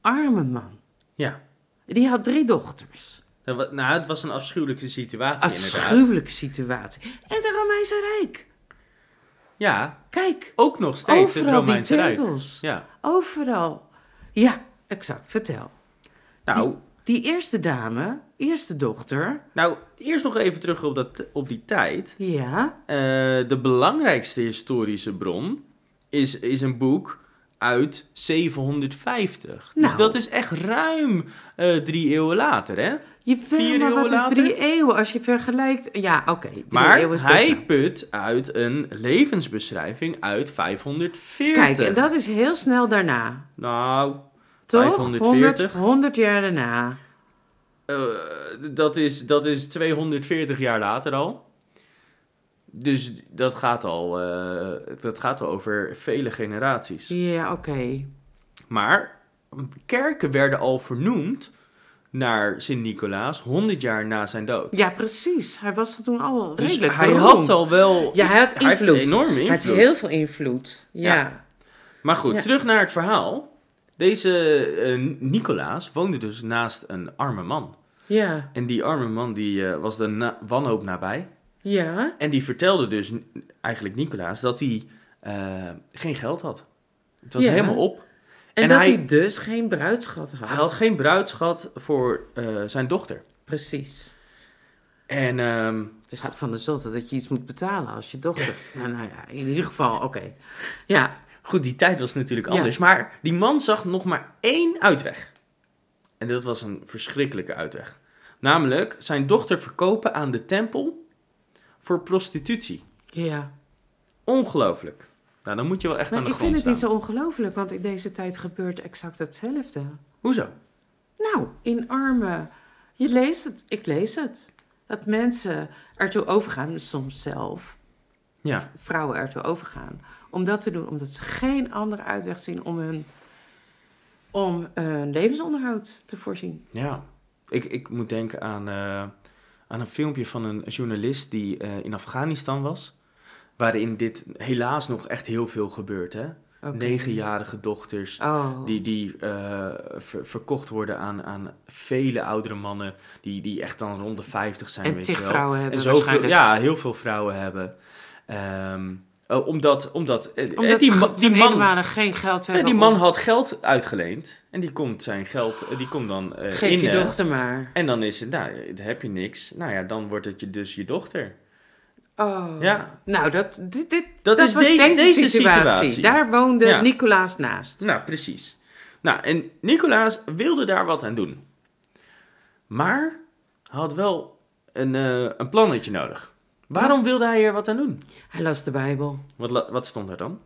Speaker 2: arme man.
Speaker 1: Ja.
Speaker 2: Die had drie dochters.
Speaker 1: Dat wa- Nou, het was een afschuwelijke situatie inderdaad.
Speaker 2: Afschuwelijke situatie. En de Romeinse Rijk.
Speaker 1: Ja,
Speaker 2: Kijk,
Speaker 1: ook nog steeds het
Speaker 2: overal die
Speaker 1: Romeinse Rijk.
Speaker 2: tempels.
Speaker 1: Ja.
Speaker 2: Overal. Ja, exact. Vertel.
Speaker 1: Nou,
Speaker 2: Die eerste dame, eerste dochter.
Speaker 1: nou, eerst nog even terug op, dat, op die tijd.
Speaker 2: Ja,
Speaker 1: Eh, de belangrijkste historische bron is, is een boek uit 750. Dus
Speaker 2: Nou.
Speaker 1: dat is echt ruim eh, drie eeuwen later, hè?
Speaker 2: je
Speaker 1: Vier
Speaker 2: weet maar wat
Speaker 1: eeuwen
Speaker 2: is drie eeuwen als je vergelijkt. Ja, oké. drie eeuwen
Speaker 1: Maar
Speaker 2: is best
Speaker 1: hij
Speaker 2: lang.
Speaker 1: put uit een levensbeschrijving uit 540.
Speaker 2: Kijk, en dat is heel snel daarna.
Speaker 1: Nou,
Speaker 2: Toch?
Speaker 1: 540.
Speaker 2: 100, 100 jaar daarna.
Speaker 1: eh, dat, is, dat is 240 jaar later al. Dus dat gaat al, eh, dat gaat al over vele generaties.
Speaker 2: Ja, oké.
Speaker 1: Maar kerken werden al vernoemd naar Sint-Nicolaas 100 jaar na zijn dood.
Speaker 2: Ja, precies. Hij was er toen al
Speaker 1: Dus
Speaker 2: redelijk
Speaker 1: hij
Speaker 2: beroemd.
Speaker 1: had al wel
Speaker 2: Ja, hij had invloed.
Speaker 1: hij heeft enorme
Speaker 2: Hij had
Speaker 1: invloed.
Speaker 2: heel veel invloed. Ja.
Speaker 1: Ja. Maar goed,
Speaker 2: Ja.
Speaker 1: terug naar het verhaal. Deze eh, Nicolaas woonde dus naast een arme man.
Speaker 2: Ja.
Speaker 1: En die arme man die, eh, was de na- wanhoop nabij.
Speaker 2: Ja.
Speaker 1: En die vertelde dus n- eigenlijk Nicolaas dat hij eh, geen geld had. Het was
Speaker 2: Ja.
Speaker 1: helemaal op.
Speaker 2: En,
Speaker 1: En
Speaker 2: dat
Speaker 1: hij-
Speaker 2: hij... dus geen bruidschat had.
Speaker 1: Hij had geen bruidsschat voor eh, zijn dochter.
Speaker 2: Precies.
Speaker 1: En ehm,
Speaker 2: Het is toch van de zotte dat je iets moet betalen als je dochter... Nou, nou ja, in ieder geval, oké. Ja.
Speaker 1: Goed, die tijd was natuurlijk
Speaker 2: Ja.
Speaker 1: anders. Maar die man zag nog maar één uitweg. En dat was een verschrikkelijke uitweg. Namelijk zijn dochter verkopen aan de tempel voor prostitutie.
Speaker 2: Ja.
Speaker 1: Ongelooflijk. Nou, dan moet je wel echt aan
Speaker 2: Maar
Speaker 1: de
Speaker 2: ik vind
Speaker 1: grond
Speaker 2: het
Speaker 1: staan.
Speaker 2: niet zo ongelooflijk, want in deze tijd gebeurt exact hetzelfde.
Speaker 1: Hoezo?
Speaker 2: Nou, in arme. Je leest het, ik lees het. Dat mensen ertoe overgaan, soms zelf,
Speaker 1: Ja.
Speaker 2: vrouwen ertoe overgaan, om dat te doen, omdat ze geen andere uitweg zien om hun, om hun levensonderhoud te voorzien.
Speaker 1: ja. Ik, ik moet denken aan, eh, aan een filmpje van een journalist die eh, in Afghanistan was. Waarin dit helaas nog echt heel veel gebeurt. Hè?
Speaker 2: Oké.
Speaker 1: Negenjarige dochters
Speaker 2: Oh.
Speaker 1: Die, die eh, ver- verkocht worden aan, aan vele oudere mannen. Die, die echt dan rond de 50 zijn.
Speaker 2: en
Speaker 1: weet je wel.
Speaker 2: tigvrouwen hebben
Speaker 1: En zoveel,
Speaker 2: waarschijnlijk.
Speaker 1: ja, heel veel vrouwen hebben. Ehm, eh, omdat, omdat, eh, eh,
Speaker 2: Omdat
Speaker 1: die,
Speaker 2: ze
Speaker 1: ma-
Speaker 2: ge-
Speaker 1: die
Speaker 2: ten
Speaker 1: man,
Speaker 2: eenenmale geen geld
Speaker 1: eh,
Speaker 2: hebben.
Speaker 1: die man
Speaker 2: om-
Speaker 1: had geld uitgeleend. En die komt zijn geld, eh, die komt dan eh,
Speaker 2: Geef
Speaker 1: in.
Speaker 2: je
Speaker 1: eh,
Speaker 2: dochter maar.
Speaker 1: En dan is het, nou, eh, heb je niks. Nou ja, dan wordt het je, dus je dochter.
Speaker 2: Oh.
Speaker 1: Ja.
Speaker 2: Nou, dat, dit, dit,
Speaker 1: Dat
Speaker 2: dat,
Speaker 1: is
Speaker 2: was
Speaker 1: deze-
Speaker 2: deze,
Speaker 1: deze
Speaker 2: situatie.
Speaker 1: situatie.
Speaker 2: Daar woonde
Speaker 1: Ja.
Speaker 2: Nicolaas naast.
Speaker 1: Nou, precies. Nou, en Nicolaas wilde daar wat aan doen. Maar hij had wel een, eh, een plannetje nodig. Waarom wilde hij er wat aan doen?
Speaker 2: Hij las de Bijbel.
Speaker 1: Wat, la- wat stond er dan?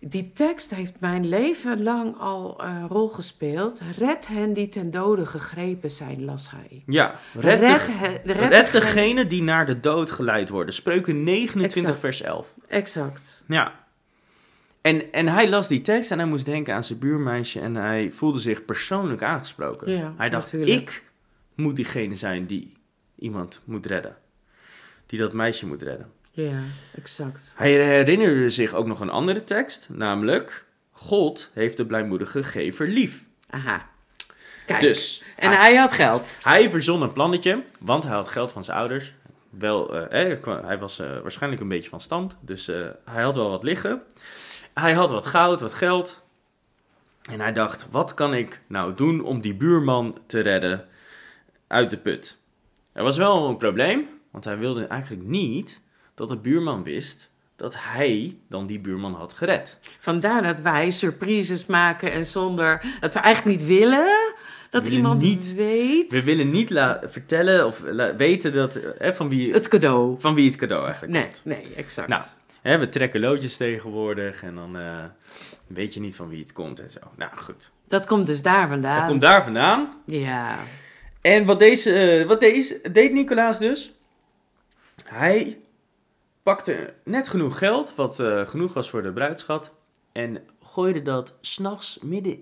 Speaker 2: Die tekst heeft mijn leven lang al een rol gespeeld. Red hen die ten dode gegrepen zijn, las hij.
Speaker 1: Ja, red, de,
Speaker 2: he-
Speaker 1: red,
Speaker 2: degen-
Speaker 1: degene die naar de dood geleid worden. Spreuken 29
Speaker 2: Exact.
Speaker 1: vers 11.
Speaker 2: Exact.
Speaker 1: Ja. En, en hij las die tekst en hij moest denken aan zijn buurmeisje en hij voelde zich persoonlijk aangesproken.
Speaker 2: Ja,
Speaker 1: hij dacht,
Speaker 2: natuurlijk.
Speaker 1: ik moet diegene zijn die iemand moet redden. Die dat meisje moet redden.
Speaker 2: Ja, exact.
Speaker 1: Hij herinnerde zich ook nog een andere tekst, namelijk... God heeft de blijmoedige gever lief.
Speaker 2: Aha. Kijk.
Speaker 1: Dus,
Speaker 2: En
Speaker 1: hij,
Speaker 2: hij had geld.
Speaker 1: hij verzon een plannetje, want hij had geld van zijn ouders. Wel, eh, hij kwam- hij was eh, waarschijnlijk een beetje van stand, dus eh, hij had wel wat liggen. Hij had wat goud, wat geld. En hij dacht, wat kan ik nou doen om die buurman te redden uit de put? Er was wel een probleem, want hij wilde eigenlijk niet dat de buurman wist dat hij dan die buurman had gered.
Speaker 2: Vandaar dat wij surprises maken en zonder dat we eigenlijk niet willen dat
Speaker 1: willen
Speaker 2: iemand
Speaker 1: niet-
Speaker 2: weet
Speaker 1: We willen niet la- vertellen of la- weten dat, hè, van, wie,
Speaker 2: het cadeau.
Speaker 1: van wie het cadeau eigenlijk
Speaker 2: Nee,
Speaker 1: komt.
Speaker 2: nee, exact.
Speaker 1: Nou, Hè, we trekken loodjes tegenwoordig en dan eh, weet je niet van wie het komt en zo. Nou goed,
Speaker 2: Dat komt dus daar
Speaker 1: dat
Speaker 2: vandaan.
Speaker 1: komt daar vandaan.
Speaker 2: Ja.
Speaker 1: Ehm. En wat, deze, eh, wat deze, deed Nicolaas dus? Hij pakte net genoeg geld, wat eh, genoeg was voor de bruidschat. En gooide dat s'nachts midden...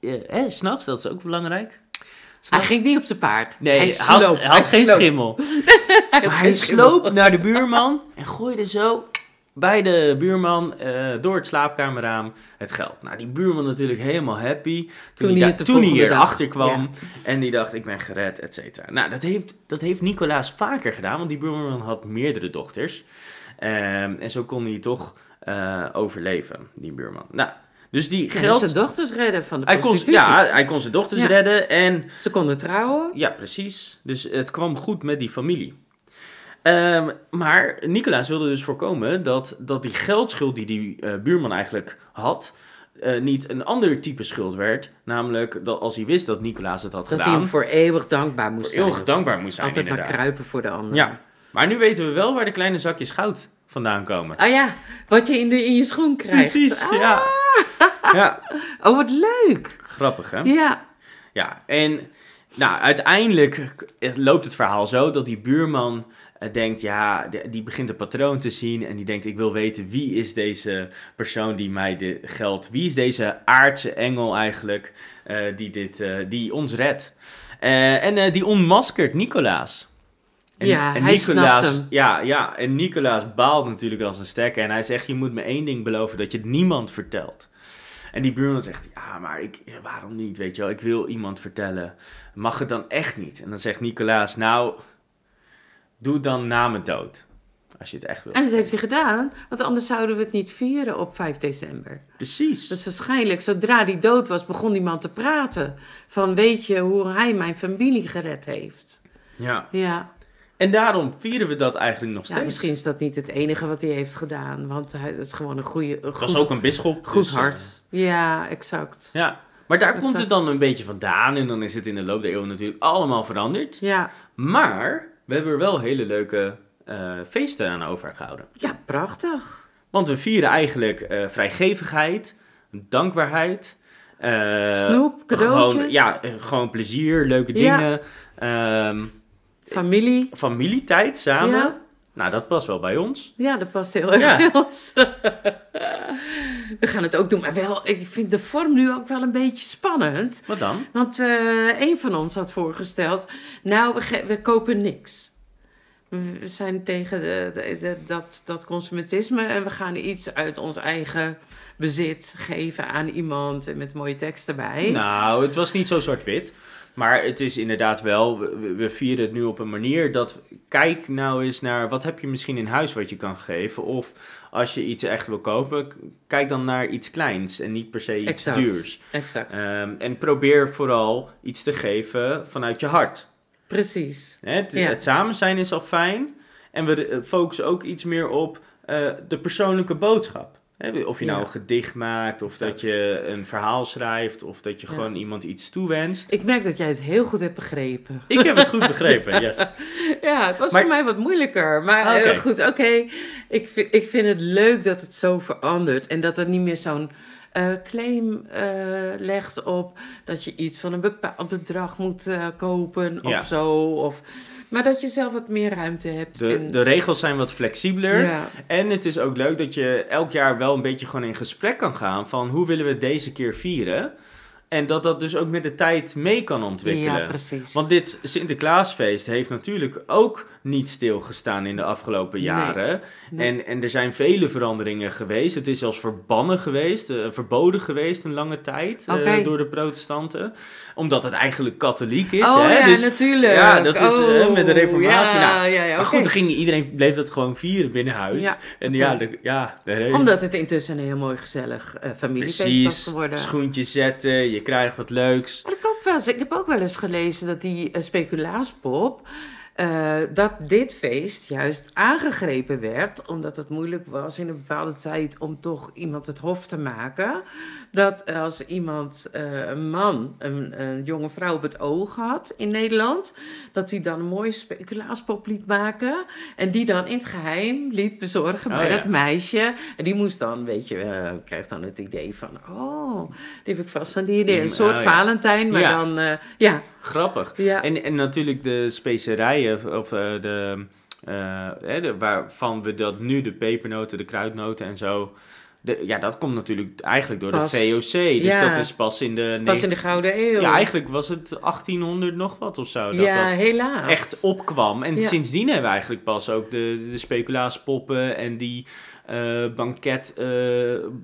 Speaker 1: eh, eh, s'nachts, dat is ook belangrijk.
Speaker 2: Hij
Speaker 1: S'nachts-
Speaker 2: ging niet op zijn paard.
Speaker 1: Nee,
Speaker 2: hij
Speaker 1: hij had,
Speaker 2: sloop.
Speaker 1: hij had geen
Speaker 2: sloop.
Speaker 1: schimmel.
Speaker 2: Hij had
Speaker 1: Maar hij
Speaker 2: geen schimmel.
Speaker 1: sloop naar de buurman en gooide zo bij de buurman eh, door het slaapkamerraam het geld. Nou, die buurman natuurlijk helemaal happy. Toen,
Speaker 2: Toen
Speaker 1: hij,
Speaker 2: hij
Speaker 1: da-
Speaker 2: het de
Speaker 1: toen hij
Speaker 2: volgende dag-
Speaker 1: hierachter kwam en die dacht, ik ben gered, et cetera. Nou, dat heeft, dat heeft Nicolaas vaker gedaan, want die buurman had meerdere dochters. Ehm, en zo kon hij toch eh, overleven, die buurman. Nou, dus die
Speaker 2: Hij moest
Speaker 1: geld...
Speaker 2: zijn dochters redden van de
Speaker 1: Hij kon,
Speaker 2: prostitutie.
Speaker 1: ja, hij kon zijn dochters
Speaker 2: Ja.
Speaker 1: redden en
Speaker 2: Ze konden trouwen.
Speaker 1: ja, precies. Dus het kwam goed met die familie. Ehm, maar Nicolaas wilde dus voorkomen dat, dat die geldschuld die die eh, buurman eigenlijk had, eh, niet een ander type schuld werd. Namelijk dat als hij wist dat Nicolaas het had
Speaker 2: Dat hij
Speaker 1: gedaan,
Speaker 2: hem voor eeuwig dankbaar moest
Speaker 1: voor
Speaker 2: zijn.
Speaker 1: eeuwig dankbaar moest zijn.
Speaker 2: Altijd maar
Speaker 1: inderdaad.
Speaker 2: kruipen voor de ander.
Speaker 1: Ja, maar nu weten we wel waar de kleine zakjes goud vandaan komen.
Speaker 2: Ah ja, wat je in, de, in je schoen krijgt.
Speaker 1: Precies,
Speaker 2: Ah,
Speaker 1: ja. ja.
Speaker 2: Oh, wat leuk.
Speaker 1: Grappig, hè?
Speaker 2: Ja.
Speaker 1: Ja, en nou, uiteindelijk k- loopt het verhaal zo dat die buurman eh, denkt, ja, de- die begint een patroon te zien en die denkt, ik wil weten wie is deze persoon die mij de geld, wie is deze aardse engel eigenlijk eh, die, dit, eh, die ons redt. Eh, en eh, die onmaskert Nicolaas.
Speaker 2: Ja, hij
Speaker 1: Nicolaas,
Speaker 2: snapt hem.
Speaker 1: Ja, ja, en Nicolaas baalt natuurlijk als een stekker. En hij zegt, je moet me één ding beloven, dat je het niemand vertelt. En die buurman zegt, ja, maar ik, ja, waarom niet, weet je wel? Ik wil iemand vertellen. Mag het dan echt niet? En dan zegt Nicolaas, nou, doe het dan na mijn dood. Als je het echt wil.
Speaker 2: En dat heeft hij gedaan, want anders zouden we het niet vieren op 5 december.
Speaker 1: Precies.
Speaker 2: Dus waarschijnlijk, zodra die dood was, begon die man te praten. Van weet je hoe hij mijn familie gered heeft?
Speaker 1: Ja.
Speaker 2: Ja,
Speaker 1: En daarom vieren we dat eigenlijk nog steeds.
Speaker 2: ja misschien is dat niet het enige wat hij heeft gedaan, want hij het is gewoon een goede. Een
Speaker 1: Het
Speaker 2: goed,
Speaker 1: was ook een bisschop.
Speaker 2: goed
Speaker 1: dus, eh,
Speaker 2: hart. Ja, exact.
Speaker 1: ja. Maar daar
Speaker 2: Dat
Speaker 1: komt
Speaker 2: zou-
Speaker 1: het dan een beetje vandaan. En dan is het in de loop der eeuwen natuurlijk allemaal veranderd.
Speaker 2: Ja,
Speaker 1: Maar we hebben er wel hele leuke eh, feesten aan overgehouden.
Speaker 2: ja prachtig.
Speaker 1: Want we vieren eigenlijk eh, vrijgevigheid, dankbaarheid. eh,
Speaker 2: Snoep, cadeautjes.
Speaker 1: Gewoon, ja, eh, gewoon plezier, leuke
Speaker 2: Ja.
Speaker 1: dingen. ehm,
Speaker 2: Familie.
Speaker 1: familietijd samen.
Speaker 2: Ja.
Speaker 1: Nou, dat past wel bij ons.
Speaker 2: Ja, dat past heel erg
Speaker 1: Ja.
Speaker 2: bij ons. We gaan het ook doen, maar wel, ik vind de vorm nu ook wel een beetje spannend.
Speaker 1: Wat dan?
Speaker 2: Want eh een van ons had voorgesteld, nou, we, ge- we kopen niks. We zijn tegen de, de- de- dat, dat consumentisme en we gaan iets uit ons eigen bezit geven aan iemand en met mooie tekst erbij.
Speaker 1: Nou, het was niet zo zwart-wit. Maar het is inderdaad wel, we- we, we vieren het nu op een manier dat, kijk nou eens naar wat heb je misschien in huis wat je kan geven. Of als je iets echt wil kopen, k- kijk dan naar iets kleins en niet per se iets
Speaker 2: exact.
Speaker 1: duurs.
Speaker 2: Exact.
Speaker 1: Ehm, en probeer vooral iets te geven vanuit je hart.
Speaker 2: Precies.
Speaker 1: Hè, Het,
Speaker 2: Ja.
Speaker 1: het samen zijn is al fijn. En we eh, focussen ook iets meer op eh, de persoonlijke boodschap. Hè, Of je nou
Speaker 2: Ja.
Speaker 1: een gedicht maakt, of
Speaker 2: Exact.
Speaker 1: dat je een verhaal schrijft, of dat je
Speaker 2: Ja.
Speaker 1: gewoon iemand iets toewenst.
Speaker 2: Ik merk dat jij het heel goed hebt begrepen.
Speaker 1: Ik heb het goed begrepen, yes.
Speaker 2: Ja, het was
Speaker 1: Maar-
Speaker 2: voor mij wat moeilijker. Maar eh,
Speaker 1: Oké.
Speaker 2: goed, oké. Ik, vind- ik vind het leuk dat het zo verandert. En dat het niet meer zo'n eh, claim eh, legt op dat je iets van een bepaald bedrag moet eh, kopen of
Speaker 1: Ja.
Speaker 2: zo. Of, maar dat je zelf wat meer ruimte hebt.
Speaker 1: De,
Speaker 2: en-
Speaker 1: de regels zijn wat flexibeler.
Speaker 2: ja,
Speaker 1: En het is ook leuk dat je elk jaar wel een beetje gewoon in gesprek kan gaan van hoe willen we het deze keer vieren. En dat dat dus ook met de tijd mee kan ontwikkelen.
Speaker 2: Ja, precies.
Speaker 1: Want dit Sinterklaasfeest heeft natuurlijk ook niet stilgestaan in de afgelopen
Speaker 2: Nee.
Speaker 1: jaren.
Speaker 2: Nee.
Speaker 1: En, en er zijn vele veranderingen geweest. Het is zelfs verbannen geweest, eh, verboden geweest een lange tijd eh,
Speaker 2: Oké.
Speaker 1: door de protestanten. Omdat het eigenlijk katholiek is.
Speaker 2: oh
Speaker 1: hè?
Speaker 2: ja,
Speaker 1: Dus-
Speaker 2: natuurlijk.
Speaker 1: Ja, dat is, eh,
Speaker 2: Oh,
Speaker 1: met de reformatie.
Speaker 2: Ja,
Speaker 1: Nou,
Speaker 2: ja, ja,
Speaker 1: Maar
Speaker 2: oké.
Speaker 1: goed, dan ging iedereen bleef dat gewoon vieren binnen huis.
Speaker 2: Ja.
Speaker 1: En ja, de, ja de hele-
Speaker 2: Omdat het intussen een heel mooi gezellig eh familiefeest was
Speaker 1: precies,
Speaker 2: geworden.
Speaker 1: schoentjes zetten, je krijgt wat leuks.
Speaker 2: Wat ik, ook wel eens, ik heb ook wel eens gelezen dat die eh, speculaaspop. eh, dat dit feest juist aangegrepen werd, omdat het moeilijk was in een bepaalde tijd om toch iemand het hof te maken. Dat als iemand, eh, een man, een, een jonge vrouw op het oog had in Nederland, dat hij dan een mooie speculaaspop liet maken. En die dan in het geheim liet bezorgen
Speaker 1: Oh,
Speaker 2: bij
Speaker 1: ja.
Speaker 2: dat meisje. En die moest dan, weet je, eh, krijgt dan het idee van, oh, die heb ik vast van die idee. Een
Speaker 1: Mm,
Speaker 2: soort
Speaker 1: oh, ja.
Speaker 2: Valentijn, maar
Speaker 1: Ja.
Speaker 2: dan, eh, ja,
Speaker 1: Grappig.
Speaker 2: ja.
Speaker 1: En, en natuurlijk de specerijen, of eh, de, eh, hè, de- waarvan we dat nu, de pepernoten, de kruidnoten en zo. De, ja, dat komt natuurlijk eigenlijk door
Speaker 2: Pas.
Speaker 1: de VOC. Dus
Speaker 2: Ja.
Speaker 1: dat is pas in de...
Speaker 2: pas
Speaker 1: negen-
Speaker 2: in de Gouden Eeuw.
Speaker 1: ja, eigenlijk was het 1800 nog wat of zo. Dat
Speaker 2: Ja,
Speaker 1: dat
Speaker 2: helaas.
Speaker 1: echt opkwam. En
Speaker 2: Ja.
Speaker 1: sindsdien hebben we eigenlijk pas ook de, de speculaatspoppen en die eh, banket... eh,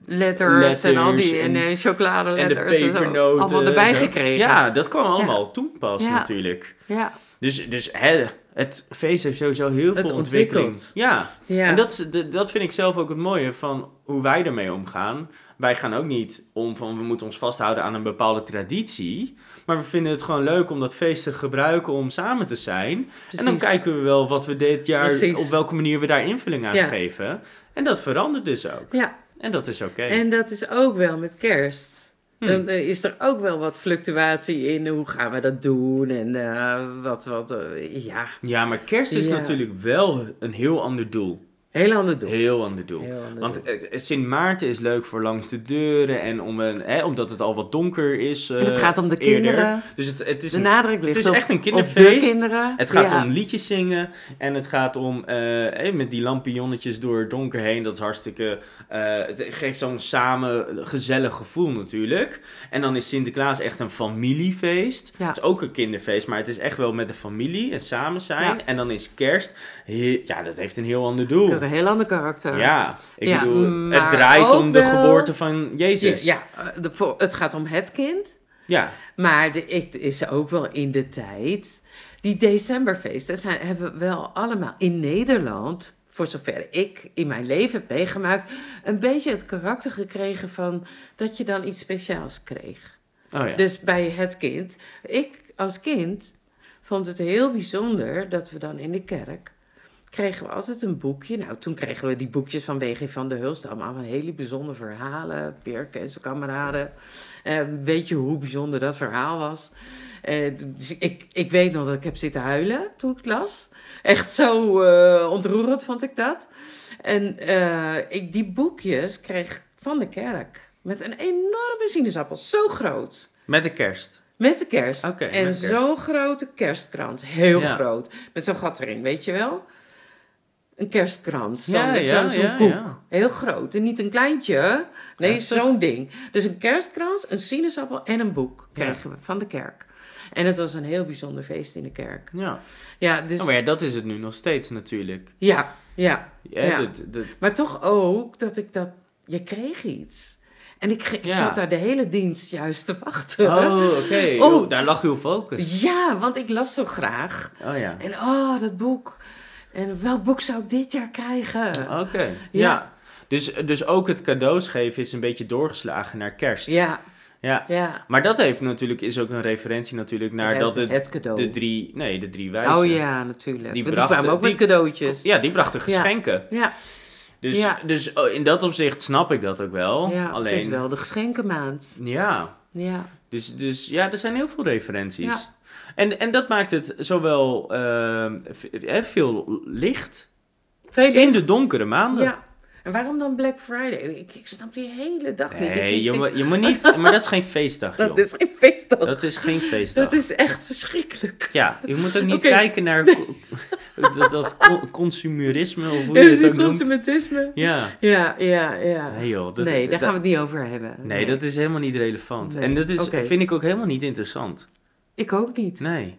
Speaker 2: Letters, en al die, en,
Speaker 1: letters en-
Speaker 2: eh,
Speaker 1: en de
Speaker 2: chocoladeletters en zo.
Speaker 1: pepernoten.
Speaker 2: Allemaal erbij
Speaker 1: en zo.
Speaker 2: gekregen.
Speaker 1: Ja, dat kwam allemaal toen pas
Speaker 2: Ja.
Speaker 1: natuurlijk.
Speaker 2: ja.
Speaker 1: Dus, dus hè, het feest heeft sowieso heel
Speaker 2: Het
Speaker 1: veel ontwikkeling.
Speaker 2: ontwikkelt.
Speaker 1: Ja.
Speaker 2: Ja.
Speaker 1: En dat, is- de- dat vind ik zelf ook het mooie van hoe wij ermee omgaan. Wij gaan ook niet om van we moeten ons vasthouden aan een bepaalde traditie. Maar we vinden het gewoon leuk om dat feest te gebruiken om samen te zijn. En dan
Speaker 2: Precies.
Speaker 1: kijken we wel wat we dit jaar,
Speaker 2: Precies.
Speaker 1: op welke manier we daar invulling aan
Speaker 2: Ja.
Speaker 1: geven. En dat verandert dus ook.
Speaker 2: Ja,
Speaker 1: En dat is oké.
Speaker 2: en dat is ook wel met kerst.
Speaker 1: Hm.
Speaker 2: Dan eh, is er ook wel wat fluctuatie in eh, hoe gaan we dat doen en eh, wat, wat, eh, ja,
Speaker 1: Ja, maar kerst is
Speaker 2: Ja.
Speaker 1: natuurlijk wel een heel ander doel.
Speaker 2: heel ander doel.
Speaker 1: Heel ander doel.
Speaker 2: Heel ander
Speaker 1: Want
Speaker 2: doel.
Speaker 1: eh, eh, Sint Maarten is leuk voor langs de deuren en om een, hè, omdat het al wat donker is. eh,
Speaker 2: En het gaat om de
Speaker 1: eerder.
Speaker 2: kinderen.
Speaker 1: Dus het, het is,
Speaker 2: De
Speaker 1: een-
Speaker 2: nadruk ligt
Speaker 1: het is
Speaker 2: op,
Speaker 1: echt een
Speaker 2: op de
Speaker 1: kinderfeest.
Speaker 2: kinderen.
Speaker 1: het gaat
Speaker 2: Ja.
Speaker 1: om liedjes zingen en het gaat om eh, hé, met die lampionnetjes door het donker heen. Dat is hartstikke. eh, het geeft zo'n samen gezellig gevoel natuurlijk. En dan is Sinterklaas echt een familiefeest.
Speaker 2: Ja.
Speaker 1: Het is ook een kinderfeest, maar het is echt wel met de familie en samen zijn. En dan is kerst. he- ja, dat heeft een heel ander doel.
Speaker 2: Ook Een heel ander karakter.
Speaker 1: Ja, ik
Speaker 2: Ja,
Speaker 1: bedoel,
Speaker 2: maar
Speaker 1: het draait om
Speaker 2: ook
Speaker 1: de
Speaker 2: wel-
Speaker 1: geboorte van Jezus.
Speaker 2: Ja, ja, de- voor- het gaat om het kind.
Speaker 1: ja.
Speaker 2: Maar de, ik is ook wel in de tijd. Die decemberfeesten zijn, hebben we wel allemaal in Nederland, voor zover ik in mijn leven heb meegemaakt, een beetje het karakter gekregen van dat je dan iets speciaals kreeg.
Speaker 1: Oh ja.
Speaker 2: Dus bij het kind. Ik als kind vond het heel bijzonder dat we dan in de kerk kregen we altijd een boekje. Nou, toen kregen we die boekjes van W.G. van de Hulst. Allemaal van hele bijzondere verhalen. Pirke en zijn kameraden. Eh, weet je hoe bijzonder dat verhaal was? Eh, dus ik, ik weet nog dat ik heb zitten huilen toen ik het las. Echt zo eh, ontroerend vond ik dat. En eh, ik die boekjes kreeg van de kerk. Met een enorme sinaasappel. Zo groot.
Speaker 1: Met de kerst.
Speaker 2: Met de kerst.
Speaker 1: Oké,
Speaker 2: en
Speaker 1: met kerst.
Speaker 2: zo'n grote kerstkrant. Heel
Speaker 1: Ja.
Speaker 2: groot. Met zo'n gat erin, weet je wel? Een kerstkrans. Zo'n
Speaker 1: Ja, ja,
Speaker 2: zo'n- zo'n
Speaker 1: ja,
Speaker 2: koek.
Speaker 1: ja.
Speaker 2: Heel groot. En niet een kleintje. Nee,
Speaker 1: Heftig.
Speaker 2: zo'n ding. Dus een kerstkrans, een sinaasappel en een boek
Speaker 1: Ja.
Speaker 2: kregen we van de kerk. En het was een heel bijzonder feest in de kerk.
Speaker 1: Ja.
Speaker 2: Ja, dus...
Speaker 1: Nou, maar ja, dat is het nu nog steeds natuurlijk.
Speaker 2: ja, ja.
Speaker 1: Ja,
Speaker 2: Ja.
Speaker 1: Dat, dat,
Speaker 2: Maar toch ook dat ik dat... Je kreeg iets. En ik, ge- ik
Speaker 1: Ja.
Speaker 2: zat daar de hele dienst juist te wachten.
Speaker 1: oh, oké.
Speaker 2: Oh.
Speaker 1: Oh, daar lag uw focus.
Speaker 2: Ja, want ik las zo graag.
Speaker 1: Oh ja.
Speaker 2: En oh, dat boek. En welk boek zou ik dit jaar krijgen?
Speaker 1: Oké. Ja.
Speaker 2: Ja.
Speaker 1: Dus, dus ook het cadeaus geven is een beetje doorgeslagen naar kerst.
Speaker 2: Ja,
Speaker 1: Ja.
Speaker 2: ja.
Speaker 1: Maar dat heeft natuurlijk, is ook een referentie natuurlijk naar
Speaker 2: Het-
Speaker 1: Nou, dat het,
Speaker 2: het cadeau.
Speaker 1: de drie, nee, de drie wijzen.
Speaker 2: Oh ja, natuurlijk.
Speaker 1: Die
Speaker 2: Die, die
Speaker 1: brachten-
Speaker 2: kwamen ook
Speaker 1: die-
Speaker 2: met cadeautjes.
Speaker 1: Ja, die brachten
Speaker 2: Ja.
Speaker 1: geschenken.
Speaker 2: ja.
Speaker 1: Dus,
Speaker 2: Ja.
Speaker 1: dus oh, in dat opzicht snap ik dat ook wel.
Speaker 2: ja.
Speaker 1: Alleen,
Speaker 2: Het is wel de geschenkenmaand.
Speaker 1: Ja.
Speaker 2: Ja,
Speaker 1: Dus, dus ja, er zijn heel veel referenties.
Speaker 2: Ja.
Speaker 1: En, en dat maakt het zowel ehm, v- eh, veel licht
Speaker 2: Veel
Speaker 1: in de
Speaker 2: licht.
Speaker 1: donkere maanden.
Speaker 2: Ja. En waarom dan Black Friday? Ik, ik snap die hele dag niet. Ik
Speaker 1: Nee,
Speaker 2: zie
Speaker 1: je,
Speaker 2: stik-
Speaker 1: moet- je moet niet... Maar dat is geen feestdag, joh.
Speaker 2: dat is geen feestdag.
Speaker 1: Dat is geen feestdag.
Speaker 2: Dat is echt verschrikkelijk.
Speaker 1: Ja, je moet ook niet
Speaker 2: Oké.
Speaker 1: kijken naar co- dat, dat co- consumerisme of hoe
Speaker 2: Ja,
Speaker 1: je
Speaker 2: dus
Speaker 1: het ook
Speaker 2: het
Speaker 1: noemt.
Speaker 2: consumentisme.
Speaker 1: Ja,
Speaker 2: Ja, ja, ja.
Speaker 1: nee joh. Dat,
Speaker 2: nee, daar
Speaker 1: dat-
Speaker 2: gaan we het niet over hebben.
Speaker 1: nee, dat is helemaal niet relevant.
Speaker 2: Nee,
Speaker 1: En dat is,
Speaker 2: oké.
Speaker 1: vind ik ook helemaal niet interessant.
Speaker 2: Ik ook niet.
Speaker 1: Nee,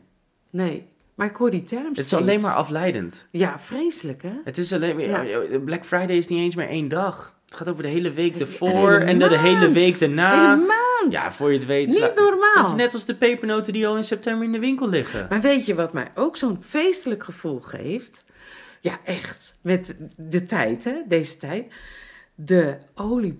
Speaker 2: Nee. Maar ik hoor die term
Speaker 1: het is
Speaker 2: steeds.
Speaker 1: alleen maar afleidend.
Speaker 2: Ja, vreselijk hè?
Speaker 1: Het is alleen maar, Black Friday is niet eens meer één dag. Het gaat over de hele week ervoor
Speaker 2: hele
Speaker 1: en, de, de hele
Speaker 2: maand.
Speaker 1: week daarna.
Speaker 2: Helemaal.
Speaker 1: Ja, voor je het weet. sla-
Speaker 2: niet normaal.
Speaker 1: Het is net als de pepernoten die al in september in de winkel liggen.
Speaker 2: Maar weet je wat mij ook zo'n feestelijk gevoel geeft? Ja, echt. Met de tijd, hè? Deze tijd. De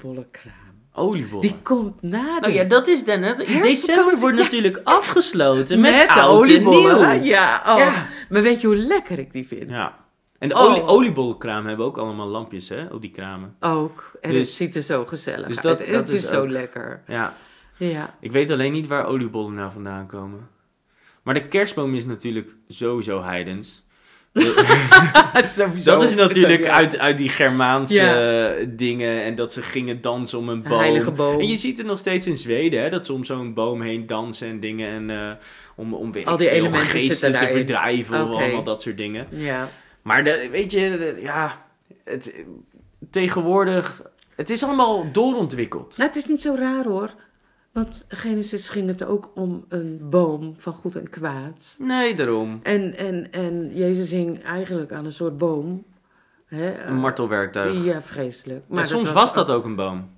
Speaker 2: oliebollenkraam.
Speaker 1: Oliebollen.
Speaker 2: Die komt na de...
Speaker 1: Nou ja, dat is dan het.
Speaker 2: Herfstvakantie,
Speaker 1: December wordt
Speaker 2: ja.
Speaker 1: natuurlijk afgesloten dus met, oud en
Speaker 2: hè?
Speaker 1: nieuw.
Speaker 2: Ja, oh.
Speaker 1: Ja.
Speaker 2: Maar weet je hoe lekker ik die vind?
Speaker 1: Ja. En de
Speaker 2: Oh.
Speaker 1: olie, oliebollenkraam hebben ook allemaal lampjes hè, op die kramen.
Speaker 2: Ook. En het
Speaker 1: Dus-
Speaker 2: ziet er zo gezellig
Speaker 1: dus
Speaker 2: uit.
Speaker 1: dat-
Speaker 2: het
Speaker 1: dat
Speaker 2: is,
Speaker 1: is
Speaker 2: zo
Speaker 1: ook-
Speaker 2: lekker.
Speaker 1: Ja,
Speaker 2: Ja.
Speaker 1: ik weet alleen niet waar oliebollen nou vandaan komen. Maar de kerstboom is natuurlijk sowieso heidens. De-
Speaker 2: Sowieso.
Speaker 1: dat is natuurlijk
Speaker 2: Ja.
Speaker 1: uit, uit die Germaanse
Speaker 2: Ja.
Speaker 1: eh, dingen en dat ze gingen dansen om een
Speaker 2: Een
Speaker 1: boom.
Speaker 2: heilige boom.
Speaker 1: En je ziet het nog steeds in Zweden, hè, dat ze om zo'n boom heen dansen en dingen en eh, om, om weet
Speaker 2: Al
Speaker 1: ik
Speaker 2: die
Speaker 1: veel,
Speaker 2: elementen zitten
Speaker 1: geesten te
Speaker 2: daarin.
Speaker 1: verdrijven of
Speaker 2: Oké.
Speaker 1: allemaal dat soort dingen.
Speaker 2: Ja.
Speaker 1: Maar de, weet je, de- ja, het, tegenwoordig, het is allemaal doorontwikkeld.
Speaker 2: Nou, het is niet zo raar hoor. Want Genesis ging het ook om een boom van goed en kwaad.
Speaker 1: Nee, daarom.
Speaker 2: En, en, en Jezus hing eigenlijk aan een soort boom. Hè? eh,
Speaker 1: Een martelwerktuig.
Speaker 2: Ja, vreselijk.
Speaker 1: maar
Speaker 2: dat
Speaker 1: soms was dat ook een boom.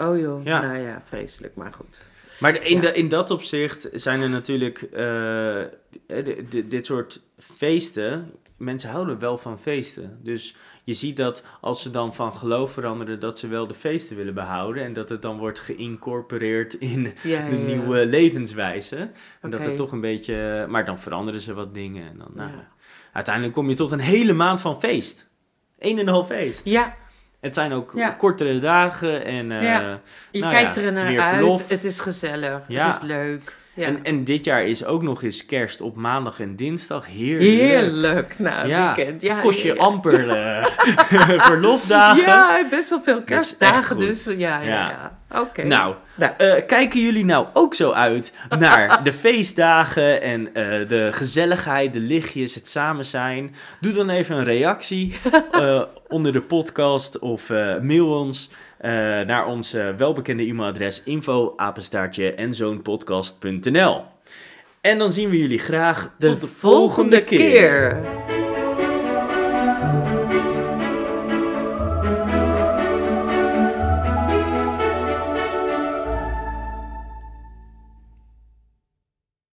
Speaker 2: Oh joh,
Speaker 1: Ja.
Speaker 2: nou ja, vreselijk, maar goed.
Speaker 1: Maar de- in,
Speaker 2: Ja.
Speaker 1: de, in dat opzicht zijn er natuurlijk eh, de- de- dit soort feesten. Mensen houden wel van feesten. Dus je ziet dat als ze dan van geloof veranderen, dat ze wel de feesten willen behouden. En dat het dan wordt geïncorporeerd in
Speaker 2: Ja,
Speaker 1: de
Speaker 2: ja, ja.
Speaker 1: nieuwe levenswijze. En dat
Speaker 2: Oké.
Speaker 1: het toch een beetje... Maar dan veranderen ze wat dingen. En dan, nou,
Speaker 2: Ja.
Speaker 1: Uiteindelijk kom je tot een hele maand van feest. Eén en een half feest.
Speaker 2: Ja,
Speaker 1: Het zijn ook
Speaker 2: Ja.
Speaker 1: kortere dagen en... eh,
Speaker 2: Ja. je
Speaker 1: Nou
Speaker 2: kijkt
Speaker 1: ja,
Speaker 2: er naar
Speaker 1: meer
Speaker 2: uit.
Speaker 1: verlof.
Speaker 2: Het is gezellig,
Speaker 1: Ja.
Speaker 2: het is leuk. Ja.
Speaker 1: en, en dit jaar is ook nog eens kerst op maandag en dinsdag. Heerlijk.
Speaker 2: Heerlijk, nou,
Speaker 1: Ja.
Speaker 2: weekend. Ja,
Speaker 1: Kost je
Speaker 2: ja, ja.
Speaker 1: amper eh, verlofdagen.
Speaker 2: Ja, best wel veel
Speaker 1: echt
Speaker 2: kerstdagen
Speaker 1: goed.
Speaker 2: dus. Ja, ja, ja.
Speaker 1: Ja.
Speaker 2: Oké.
Speaker 1: Nou,
Speaker 2: Nou.
Speaker 1: eh, kijken jullie nou ook zo uit naar de feestdagen en eh, de gezelligheid, de lichtjes, het samen zijn? Doe dan even een reactie eh, onder de podcast of eh, mail ons eh, naar ons eh, welbekende e-mailadres info apenstaartje en zoonpodcast.nl. En dan zien we jullie graag
Speaker 2: de,
Speaker 1: tot de
Speaker 2: volgende keer.